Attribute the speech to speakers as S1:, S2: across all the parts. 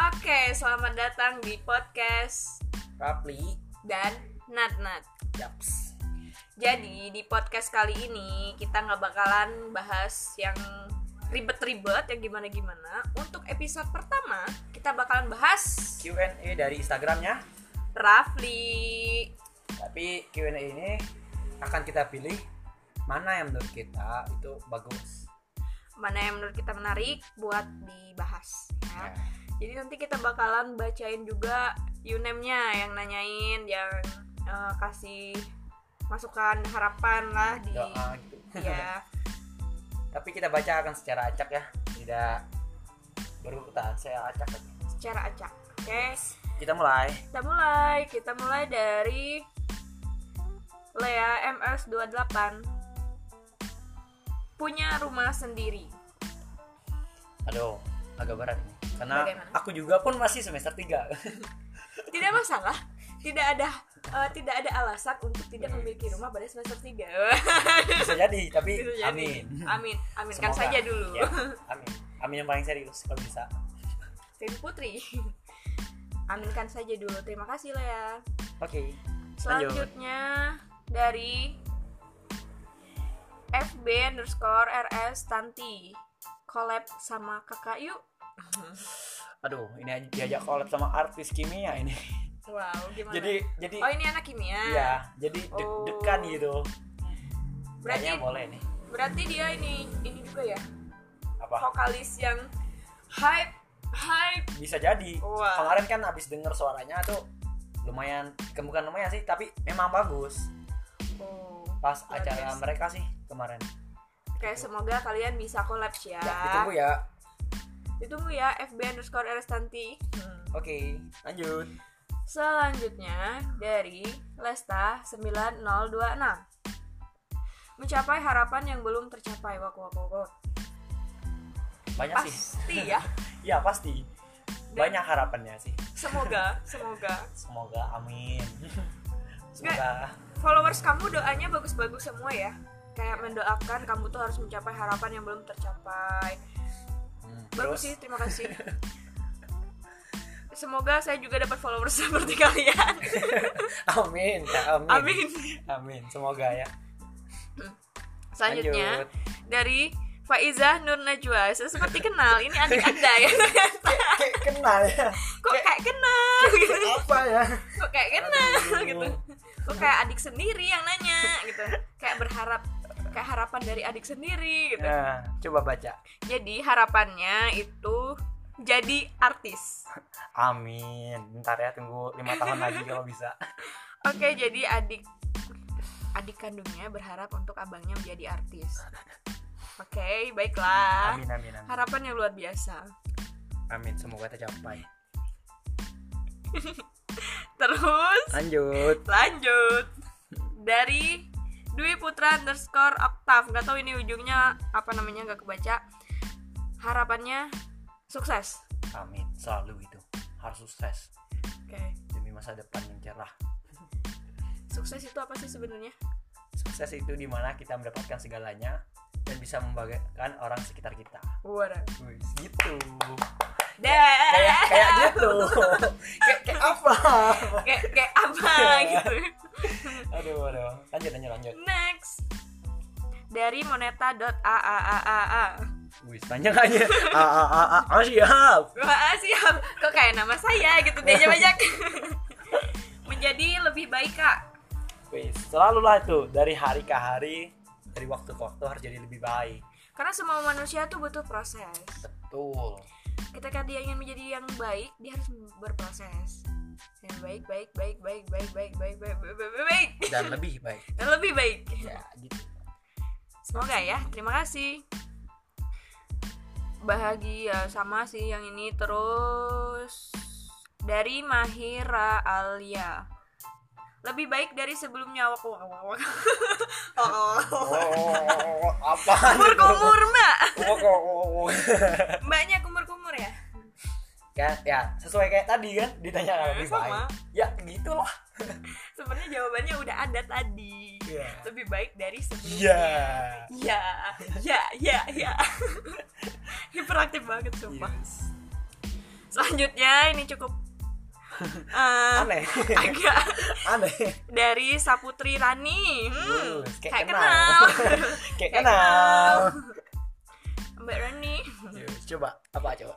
S1: Oke, selamat datang di podcast
S2: Rapli
S1: dan Nat Nat.
S2: Yaps
S1: Jadi di podcast kali ini kita nggak bakalan bahas yang ribet-ribet yang gimana-gimana. Untuk episode pertama kita bakalan bahas
S2: Q&A dari Instagramnya
S1: Rafli.
S2: Tapi Q&A ini akan kita pilih mana yang menurut kita itu bagus
S1: Mana yang menurut kita menarik buat dibahas. ya.
S2: ya.
S1: Jadi nanti kita bakalan bacain juga Yunemnya yang nanyain, yang eh, kasih masukan harapan lah di
S2: Doa gitu
S1: ya.
S2: Tapi kita baca akan secara acak ya Tidak berurutan, saya acak aja
S1: secara acak. Oke,
S2: Kita mulai
S1: kita mulai. Kita mulai dari Lea MS28 punya rumah sendiri.
S2: Aduh, agak berat nih Karena
S1: Bagaimana?
S2: aku juga pun masih semester 3
S1: Tidak masalah. Tidak ada eh, tidak ada alasan untuk tidak memiliki rumah pada semester 3.
S2: Bisa jadi, tapi
S1: Gitu jadi.
S2: amin
S1: Amin. Aminkan
S2: Semoga.
S1: saja dulu.
S2: Ya, Amin Amin yang paling serius kalau bisa
S1: Tim Putri. Aminkan saja dulu. Terima kasih Lea.
S2: Oke Lanjut.
S1: Selanjutnya dari FB underscore RS Tanti collab sama kakak yuk.
S2: Aduh, ini aja diajak collab sama artis kimia ini
S1: Wow, gimana?
S2: Jadi, jadi
S1: oh ini anak kimia.
S2: Iya, jadi
S1: Oh.
S2: deg-degan gitu.
S1: Berarti
S2: Kayaknya boleh nih.
S1: berarti dia ini ini juga ya
S2: Apa?
S1: vokalis yang hype hype.
S2: Bisa jadi.
S1: Wah.
S2: Kemarin kan abis denger suaranya tuh lumayan, ke- bukan lumayan sih, tapi memang bagus.
S1: Oh.
S2: Pas
S1: Luar
S2: acara
S1: biasa.
S2: mereka sih kemarin.
S1: Oke, semoga kalian bisa collab ya.
S2: Ya, ditunggu ya.
S1: Ditunggu ya FB underscore RS Tanti. Hmm.
S2: Oke, lanjut.
S1: Selanjutnya dari Lesta 9026 Mencapai harapan yang belum tercapai Wak wak wak, wak.
S2: Banyak sih.
S1: Pasti ya
S2: Iya pasti.
S1: Dan-
S2: Banyak harapannya sih.
S1: Semoga Semoga
S2: Semoga amin. Semoga
S1: Followers kamu doanya bagus-bagus semua ya Kayak mendoakan kamu tuh harus mencapai harapan yang belum tercapai
S2: Hmm,
S1: Bagus
S2: terus
S1: sih, terima kasih Semoga saya juga dapat followers seperti kalian
S2: amin, ya, amin.
S1: Amin
S2: Amin, semoga ya.
S1: Selanjutnya
S2: Lanjut.
S1: dari Faizah Nur Najwa Saya seperti kenal, ini adik anda ya
S2: Kayak kenal ya.
S1: kok kayak kenal gitu
S2: Apa ya?
S1: kok kayak kenal
S2: Aduh.
S1: gitu kok kayak adik sendiri yang nanya gitu kayak berharap kayak harapan dari adik sendiri gitu
S2: Nah, coba baca.
S1: jadi harapannya itu jadi artis
S2: Amin. Ntar ya tunggu lima tahun lagi kalau bisa.
S1: oke jadi adik adik kandungnya berharap untuk abangnya menjadi artis oke baiklah
S2: Amin amin amin.
S1: harapan yang luar biasa
S2: Amin semoga tercapai.
S1: terus
S2: Lanjut.
S1: lanjut dari Dwi Putra underscore Oktav nggak tahu ini ujungnya apa namanya nggak kebaca harapannya sukses
S2: Amin selalu itu harus sukses
S1: oke
S2: demi masa depan yang cerah.
S1: sukses itu apa sih sebenarnya
S2: Sukses itu dimana kita mendapatkan segalanya dan bisa membahagiakan orang sekitar kita.
S1: Waduh.
S2: Wih, gitu. Kayak
S1: Dah.
S2: kayak gitu. kayak, kayak apa?
S1: kayak kayak apa gitu
S2: Aduh aduh. Lanjut lanjut lanjut.
S1: next dari moneta.aaaaa
S2: Wih, panjang aja. Ah ah ah ah. ah, siap.
S1: wah siap kok kayak nama saya gitu dia aja banyak menjadi lebih baik kak
S2: Wih, selalu lah itu dari hari ke hari, dari waktu ke waktu harus jadi lebih baik.
S1: karena semua manusia tuh butuh proses
S2: Betul.
S1: ketika dia ingin menjadi yang baik dia harus berproses yang baik baik baik baik baik baik baik baik baik baik, baik, baik.
S2: Dan lebih baik.
S1: Dan lebih baik
S2: Ya, gitu.
S1: semoga ya terima kasih bahagia sama sih yang ini terus dari Mahira Alia lebih baik dari sebelumnya wak wak wak wak oh,
S2: Oh, apa?
S1: kumur kumur mbak
S2: Oh, oh, oh, oh.
S1: mbaknya kumur kumur ya
S2: Kan, ya, sesuai kayak tadi kan ditanya
S1: Ya,
S2: lebih
S1: sama.
S2: baik. Ya, gitu lah.
S1: sebenarnya jawabannya udah ada tadi
S2: Iya.
S1: lebih baik dari sebelumnya
S2: Iya.
S1: Ya, ya, ya, ya. Hiperaktif banget sumpah.
S2: Yes.
S1: Selanjutnya ini cukup eh,
S2: aneh
S1: agak
S2: aneh
S1: dari Saputri Rani. Hmm,
S2: Uh, kayak kenal. kayak kenal
S1: Mbak Rani,
S2: Yuk, coba apa coba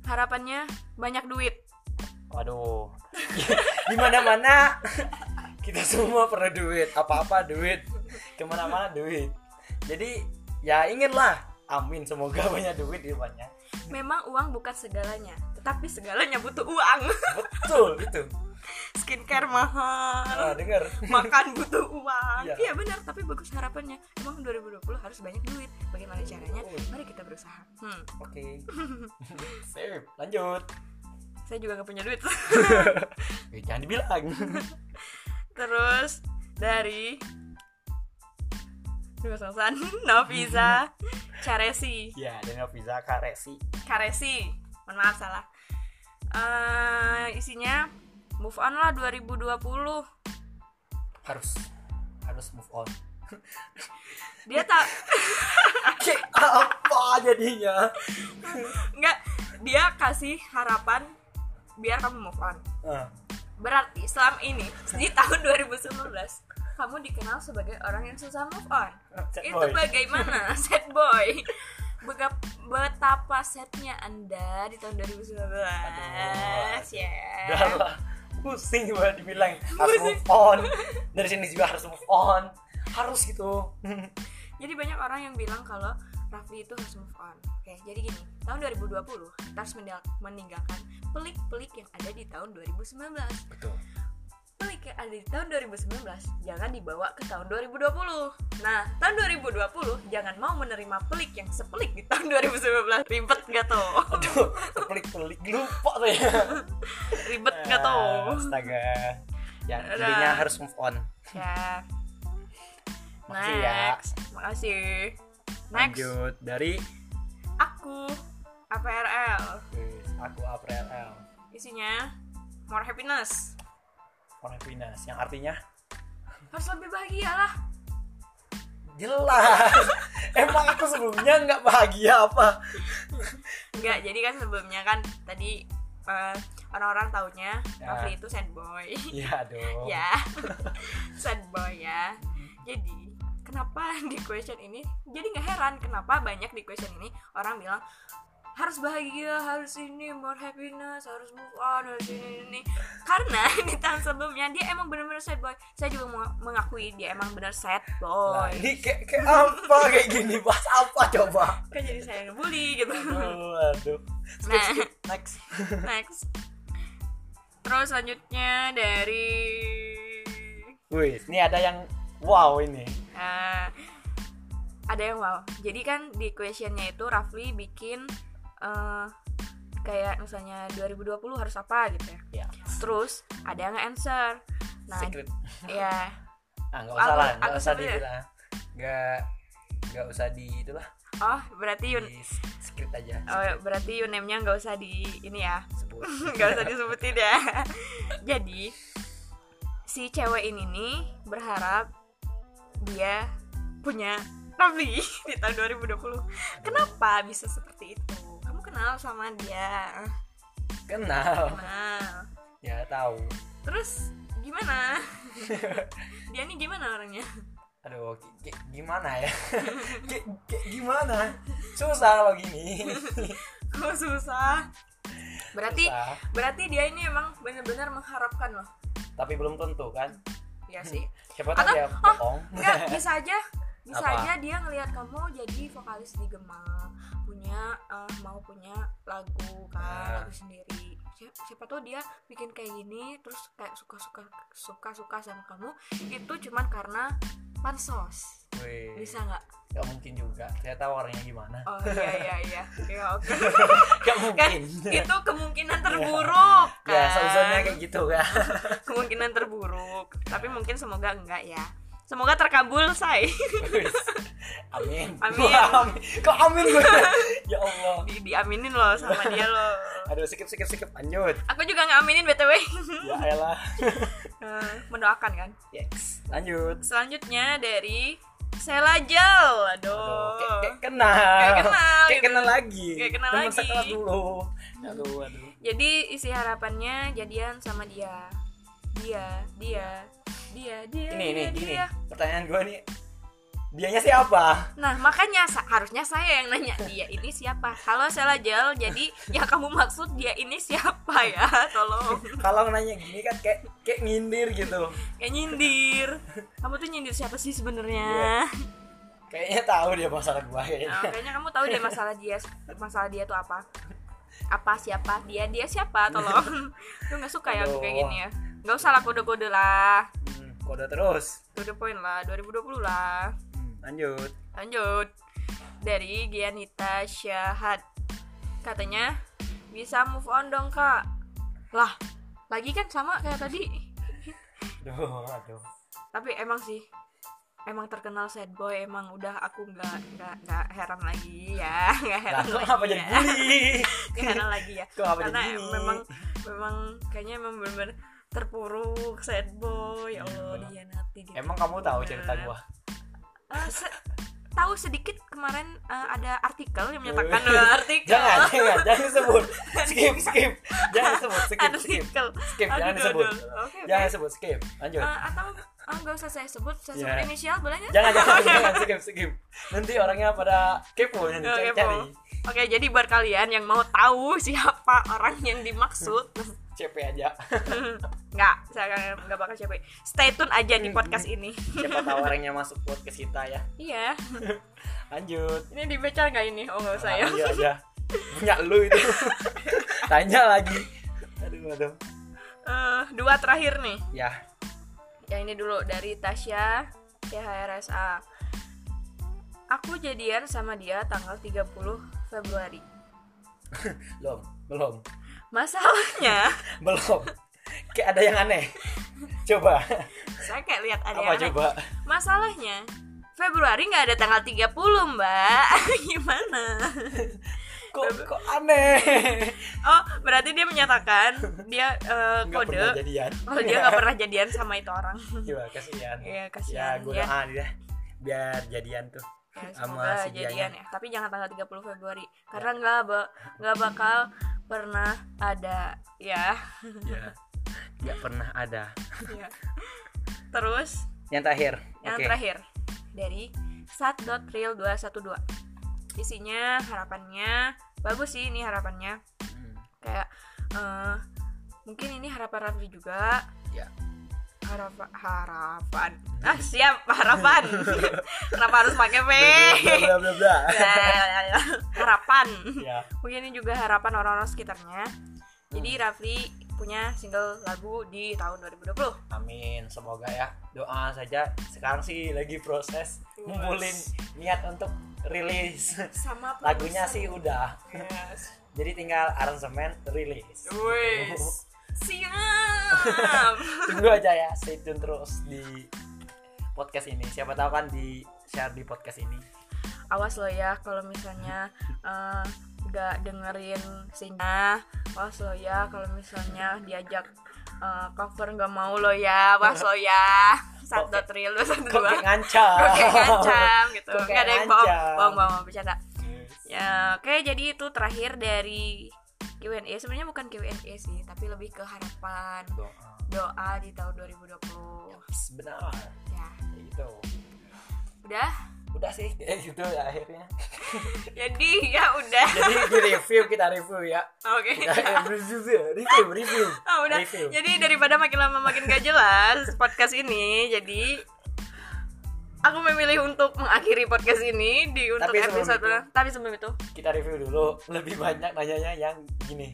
S1: harapannya banyak duit.
S2: waduh di mana mana kita semua perlu duit apa apa duit kemana mana duit jadi ya inginlah amin semoga banyak duit di depannya
S1: Memang uang bukan segalanya, tetapi segalanya butuh uang.
S2: betul itu
S1: Skincare mahal.
S2: ah, dengar
S1: makan butuh uang
S2: Iya.
S1: iya benar tapi bagus harapannya emang 2020 harus banyak duit bagaimana caranya
S2: Betul.
S1: mari kita berusaha hmm,
S2: oke sip lanjut
S1: saya juga gak punya duit
S2: Eh, jangan dibilang
S1: terus dari Duh, Sangsan, Noviza, Caresi,
S2: ya dengan visa karesi
S1: Karesi, mohon maaf salah. Eh, isinya move on lah 2020.
S2: harus harus move on
S1: Dia tak
S2: Cek, apa jadinya
S1: nggak dia kasih harapan biar kamu move on.
S2: Ah,
S1: Berarti selama ini di tahun 2019 kamu dikenal sebagai orang yang susah move on.
S2: sad
S1: Itu
S2: boy.
S1: bagaimana sad boy? Bega- Betapa setnya Anda di tahun 2019
S2: Aduh.
S1: ya.
S2: Udah lah, pusing gue dibilang harus
S1: Pusing.
S2: move on dari sini juga harus move on harus gitu
S1: Jadi banyak orang yang bilang kalau Rafli itu harus move on. Oke, jadi gini, tahun 2020 kita harus mendal- meninggalkan pelik-pelik yang ada di tahun 2019.
S2: betul
S1: pelik yang ada di tahun 2019 jangan dibawa ke tahun 2020 nah tahun 2020 jangan mau menerima pelik yang sepelik di tahun 2019 ribet gak tuh
S2: aduh terpelik-pelik lupa saya
S1: ribet gak tuh
S2: astaga ya
S1: Udah.
S2: intinya harus move on
S1: ya
S2: Makasih ya.
S1: next makasih next
S2: lanjut dari
S1: aku APRL
S2: Wih, eh, aku April eh, L
S1: isinya more happiness
S2: orang Venus yang artinya
S1: harus lebih bahagia lah
S2: jelas emang aku sebelumnya nggak bahagia apa
S1: Enggak, jadi kan sebelumnya kan tadi eh, orang-orang taunya
S2: Ya.
S1: Rafli itu sad boy
S2: ya aduh
S1: ya sad boy ya jadi kenapa di question ini jadi nggak heran kenapa banyak di question ini orang bilang harus bahagia harus ini more happiness harus move on harus ini ini, ini." karena di tahun sebelumnya dia emang bener-bener sad boy saya juga mau mengakui dia emang bener sad
S2: Nah,
S1: boy
S2: ini kayak, kayak apa kayak gini bahas apa coba
S1: kan jadi saya yang ngebully gitu
S2: aduh, aduh. Skip,
S1: Nah.
S2: skip. next
S1: next terus selanjutnya dari
S2: Wih, ini ada yang wow ini.
S1: Eh, ada yang wow. Jadi kan di questionnya itu Rafli bikin eh, kayak misalnya 2020 harus apa gitu ya.
S2: Ya,
S1: Terus ada yang answer. Nah,
S2: secret.
S1: ya
S2: Ah, nggak usah lah,
S1: Aku-
S2: nggak
S1: aku
S2: usah di
S1: sebenarnya-
S2: itulah. Nggak nggak usah di itulah.
S1: oh berarti Yun
S2: Di secret aja.
S1: oh, berarti Yunemnya nggak usah di ini ya.
S2: Sebut.
S1: nggak usah disebutin ya. Jadi si cewek ini nih berharap dia punya Rafli di tahun 2020. Kenapa bisa seperti itu? Kamu kenal sama dia?
S2: Kenal.
S1: Kenal.
S2: Ya tahu.
S1: Terus gimana? dia nih gimana orangnya?
S2: Aduh, ki- ki- gimana ya? Ki- ki- gimana? Susah kalau gini.
S1: Kok susah? Berarti
S2: Susah.
S1: berarti dia ini emang benar-benar mengharapkan loh.
S2: Tapi belum tentu kan.
S1: Ya sih.
S2: Siapa tahu
S1: Atau-
S2: dia
S1: oh,
S2: bohong.
S1: Enggak, bisa aja bisa
S2: Apa?
S1: aja dia ngelihat kamu jadi vokalis di Gema punya eh, mau punya lagu
S2: Ah.
S1: kan lagu sendiri siapa, siapa tuh dia bikin kayak gini terus kayak suka suka suka suka sama kamu itu cuman karena pansos
S2: Wih,
S1: bisa nggak
S2: nggak mungkin juga. Saya tahu orangnya gimana.
S1: oh iya iya iya ya oke
S2: Nggak
S1: kan
S2: mungkin.
S1: itu kemungkinan terburuk kan
S2: ya, seuzonnya Iya. kayak gitu kan.
S1: kemungkinan terburuk tapi mungkin semoga enggak ya semoga terkabul say
S2: Wis. Amin.
S1: Amin.
S2: Wah, amin. Kok amin gue? ya Allah.
S1: di diaminin loh sama dia loh
S2: Aduh, skip skip skip lanjut.
S1: aku juga ngaminin btw
S2: Ya elah.
S1: Eh, mendoakan kan
S2: Hmm. Yes. Lanjut.
S1: selanjutnya dari Sheila Jel
S2: Aduh, kayak,
S1: aduh
S2: kayak kenal.
S1: Oh. Kayak kenal
S2: Kayak
S1: gitu.
S2: kenal lagi.
S1: Kayak kenal
S2: Temen
S1: lagi.
S2: sekelas dulu. Aduh, aduh.
S1: jadi isi harapannya jadian sama dia dia dia dia dia
S2: Ini, ini,
S1: dia,
S2: ini.
S1: dia.
S2: Pertanyaan gua nih. Dianya siapa?
S1: Nah, makanya sa- harusnya saya yang nanya dia ini siapa. Halo Sheila Jel, jadi yang kamu maksud dia ini siapa ya? Tolong.
S2: Kalau nanya gini kan kayak kayak ngindir gitu.
S1: Kayak nyindir. Kamu tuh nyindir siapa sih sebenarnya?
S2: Iya. Kayaknya tahu dia masalah gua kayaknya.
S1: Nah, kayaknya kamu tahu deh masalah dia masalah dia tuh apa? Apa siapa? Dia dia siapa? Tolong. Lu nggak suka ya aku kayak
S2: Aduh.
S1: gini ya? Nggak usah lah kode-kode lah.
S2: Hmm, kode terus.
S1: To the point lah, 2020 lah.
S2: Hmm, lanjut.
S1: Lanjut dari Gianita Syahad. Katanya bisa move on dong kak. Lah, lagi kan sama kayak tadi.
S2: Aduh, aduh.
S1: Tapi emang sih, emang terkenal sad boy. Emang udah aku nggak nggak nggak heran lagi ya, nggak
S2: Lah,
S1: heran
S2: kok
S1: lagi
S2: apa
S1: ya.
S2: jadi bully?
S1: Nggak heran lagi ya.
S2: Kok apa jadi
S1: Karena
S2: gini?
S1: memang memang kayaknya memang benar terpuruk sad boy. Ya Allah,
S2: Iya.
S1: dihianati gitu.
S2: Emang kamu tahu cerita gua?
S1: Eh, se- tahu sedikit kemarin eh, ada artikel yang menyatakan eh, artikel
S2: jangan, jangan, jangan disebut. Skip, skip. Jangan disebut, skip, skip.
S1: artikel
S2: Skip, jangan
S1: Aduh,
S2: disebut.
S1: aduh. Oke, oke.
S2: Jangan disebut, skip. Lanjut.
S1: Eh, atau oh, nggak usah saya sebut saya
S2: Iya.
S1: sebut inisial boleh nggak
S2: Jangan, jangan, jangan, skip, skip. Nanti orangnya pada kepo
S1: Oke,
S2: nanti cari,
S1: Oh, kepo.
S2: cari.
S1: Oke, jadi buat kalian yang mau tahu siapa orang yang dimaksud,
S2: CP aja.
S1: nggak, saya nggak- nggak bakal siapa. Stay tune aja
S2: Hmm.
S1: di podcast ini.
S2: Siapa tahu orangnya masuk podcast kita ya.
S1: Iya,
S2: Lanjut.
S1: ini dibaca nggak ini? Oh nggak usah ya.
S2: Lanjut aja. Punya lu itu. Tanya lagi. Aduh, aduh.
S1: Eh, dua terakhir nih.
S2: Ya,
S1: Yang ini dulu dari Tasya CHRSA. Aku jadian sama dia tanggal 30 Februari.
S2: belum, belum,
S1: Masalahnya,
S2: belum. Kayak ada yang aneh. Coba.
S1: saya kayak lihat ada yang
S2: Apa
S1: aneh.
S2: coba?
S1: Masalahnya, Februari nggak ada tanggal 30, Mbak. Gimana?
S2: Kok, kok aneh?
S1: Oh, berarti dia menyatakan dia eh,
S2: Nggak pernah Iya.
S1: kode
S2: jadian.
S1: kalau Oh, dia nggak pernah jadian sama itu orang.
S2: Iya, kasihan.
S1: Iya,
S2: Ya,
S1: kasihan
S2: gue
S1: ya.
S2: doain ya. Biar jadian tuh.
S1: Ya, semoga
S2: sama si Ya.
S1: jadian ya. Tapi jangan tanggal 30 Februari karena nggak ba- nggak bakal pernah ada ya.
S2: Ya. Gak pernah ada.
S1: Iya. Terus
S2: Yang terakhir.
S1: yang
S2: Oke.
S1: terakhir dari sat.real212. Isinya harapannya bagus sih ini harapannya.
S2: Hmm,
S1: Kayak eh, mungkin ini harapan Raffi juga.
S2: Ya.
S1: Harapan harapan. Ah, siap harapan. Kenapa harus pakai V?
S2: Bla, bla, bla, bla,
S1: Eh.
S2: bla.
S1: harapan.
S2: Ya.
S1: Mungkin ini juga harapan orang-orang sekitarnya. Jadi Raffi punya single lagu di tahun 2020.
S2: Amin, semoga ya. Doa saja. Sekarang sih lagi proses
S1: Yes.
S2: ngumpulin niat untuk rilis.
S1: Sama
S2: Lagunya
S1: produser.
S2: sih udah.
S1: Yes.
S2: Jadi tinggal aransemen rilis.
S1: Wes. Siap.
S2: Tunggu aja ya, stay tune terus di podcast ini. Siapa tahu kan di share di podcast ini.
S1: Awas lo ya kalau misalnya eh, nggak dengerin sinyal. Awas lo ya kalau misalnya diajak eh, cover nggak mau lo ya. Awas lo ya. Satu
S2: Kok-
S1: tril lo satu
S2: Kok
S1: dua.
S2: kayak ngancam.
S1: Oke ngancam gitu.
S2: Kok kayak
S1: Nggak ada yang bohong.
S2: ngancam.
S1: Bohong bohong bercanda.
S2: Yes.
S1: Ya, oke jadi itu terakhir dari Q&A. Sebenarnya bukan Q&A sih, tapi lebih ke harapan
S2: Doa.
S1: doa di tahun 2020.
S2: Yes, Benar.
S1: Ya,
S2: Kayak Gitu.
S1: udah.
S2: Udah sih, kayak gitu ya akhirnya.
S1: Jadi ya udah.
S2: Jadi di review kita review ya.
S1: Oke.
S2: Kita review, review, review.
S1: Ah, udah.
S2: Review.
S1: Jadi daripada makin lama makin gak jelas podcast ini, jadi aku memilih untuk mengakhiri podcast ini di untuk
S2: Tapi sebelum
S1: episode.
S2: itu-
S1: Tapi sebelum itu,
S2: Kita review dulu. Lebih banyak nanyanya yang gini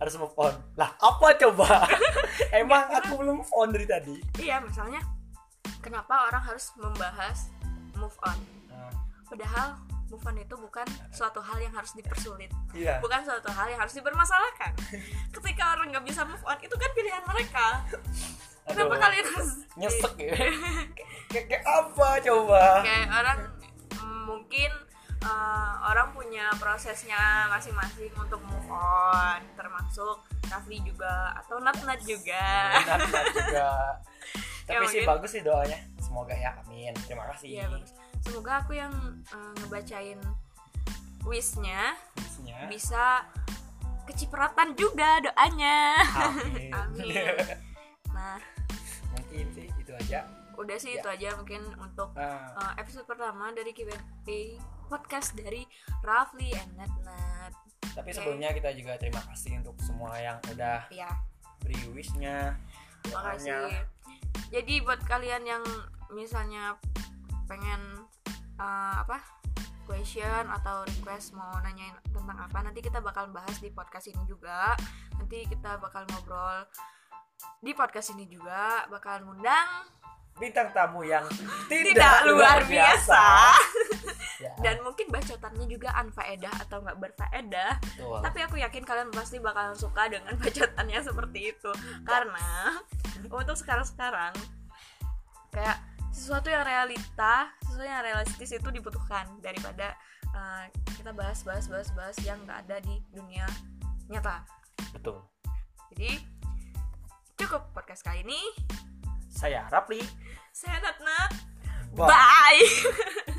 S2: harus move on lah apa coba emang aku belum move on dari tadi
S1: iya misalnya kenapa orang harus membahas move on?
S2: Nah,
S1: Padahal move on itu bukan suatu hal yang harus dipersulit,
S2: iya
S1: bukan suatu hal yang harus dipermasalahkan. Ketika orang nggak bisa move on, itu kan pilihan mereka. Kenapa
S2: Aduh.
S1: kalian harus
S2: nyesek
S1: Iya.
S2: ya kayak, kayak apa coba
S1: kayak orang mm, mungkin eh, orang punya prosesnya masing-masing untuk move on termasuk Rafli juga atau Nat Nat juga
S2: Benar, benar juga tapi sih
S1: mungkin.
S2: bagus sih doanya semoga ya amin terima kasih
S1: gitu. Iya bagus. Semoga aku yang eh, ngebacain wishnya
S2: Bagusnya.
S1: bisa kecipratan juga doanya.
S2: amin,
S1: Amin. Nah,
S2: mungkin sih itu aja
S1: udah sih itu aja mungkin untuk
S2: Nah,
S1: eh, episode pertama dari Q&A podcast dari Rafli and Natnat.
S2: tapi
S1: Oke.
S2: sebelumnya kita juga terima kasih untuk semua yang udah
S1: Ya,
S2: beri wishnya
S1: makasih.
S2: doanya.
S1: Jadi buat kalian yang misalnya pengen eh, apa? question atau request mau nanyain tentang apa nanti kita bakal bahas di podcast ini juga nanti kita bakal ngobrol di podcast ini juga bakal ngundang
S2: bintang tamu yang tidak,
S1: Tidak luar
S2: Ya,
S1: dan mungkin bacotannya juga anfaedah atau nggak berfaedah
S2: betul.
S1: tapi aku yakin kalian pasti bakal suka dengan bacotannya seperti itu karena untuk sekarang-sekarang kayak sesuatu yang realita sesuatu yang realistis itu dibutuhkan daripada eh, kita bahas bahas bahas bahas yang nggak ada di dunia nyata
S2: betul.
S1: jadi cukup podcast kali ini
S2: Saya Rapli.
S1: saya Natna
S2: Bye.
S1: bye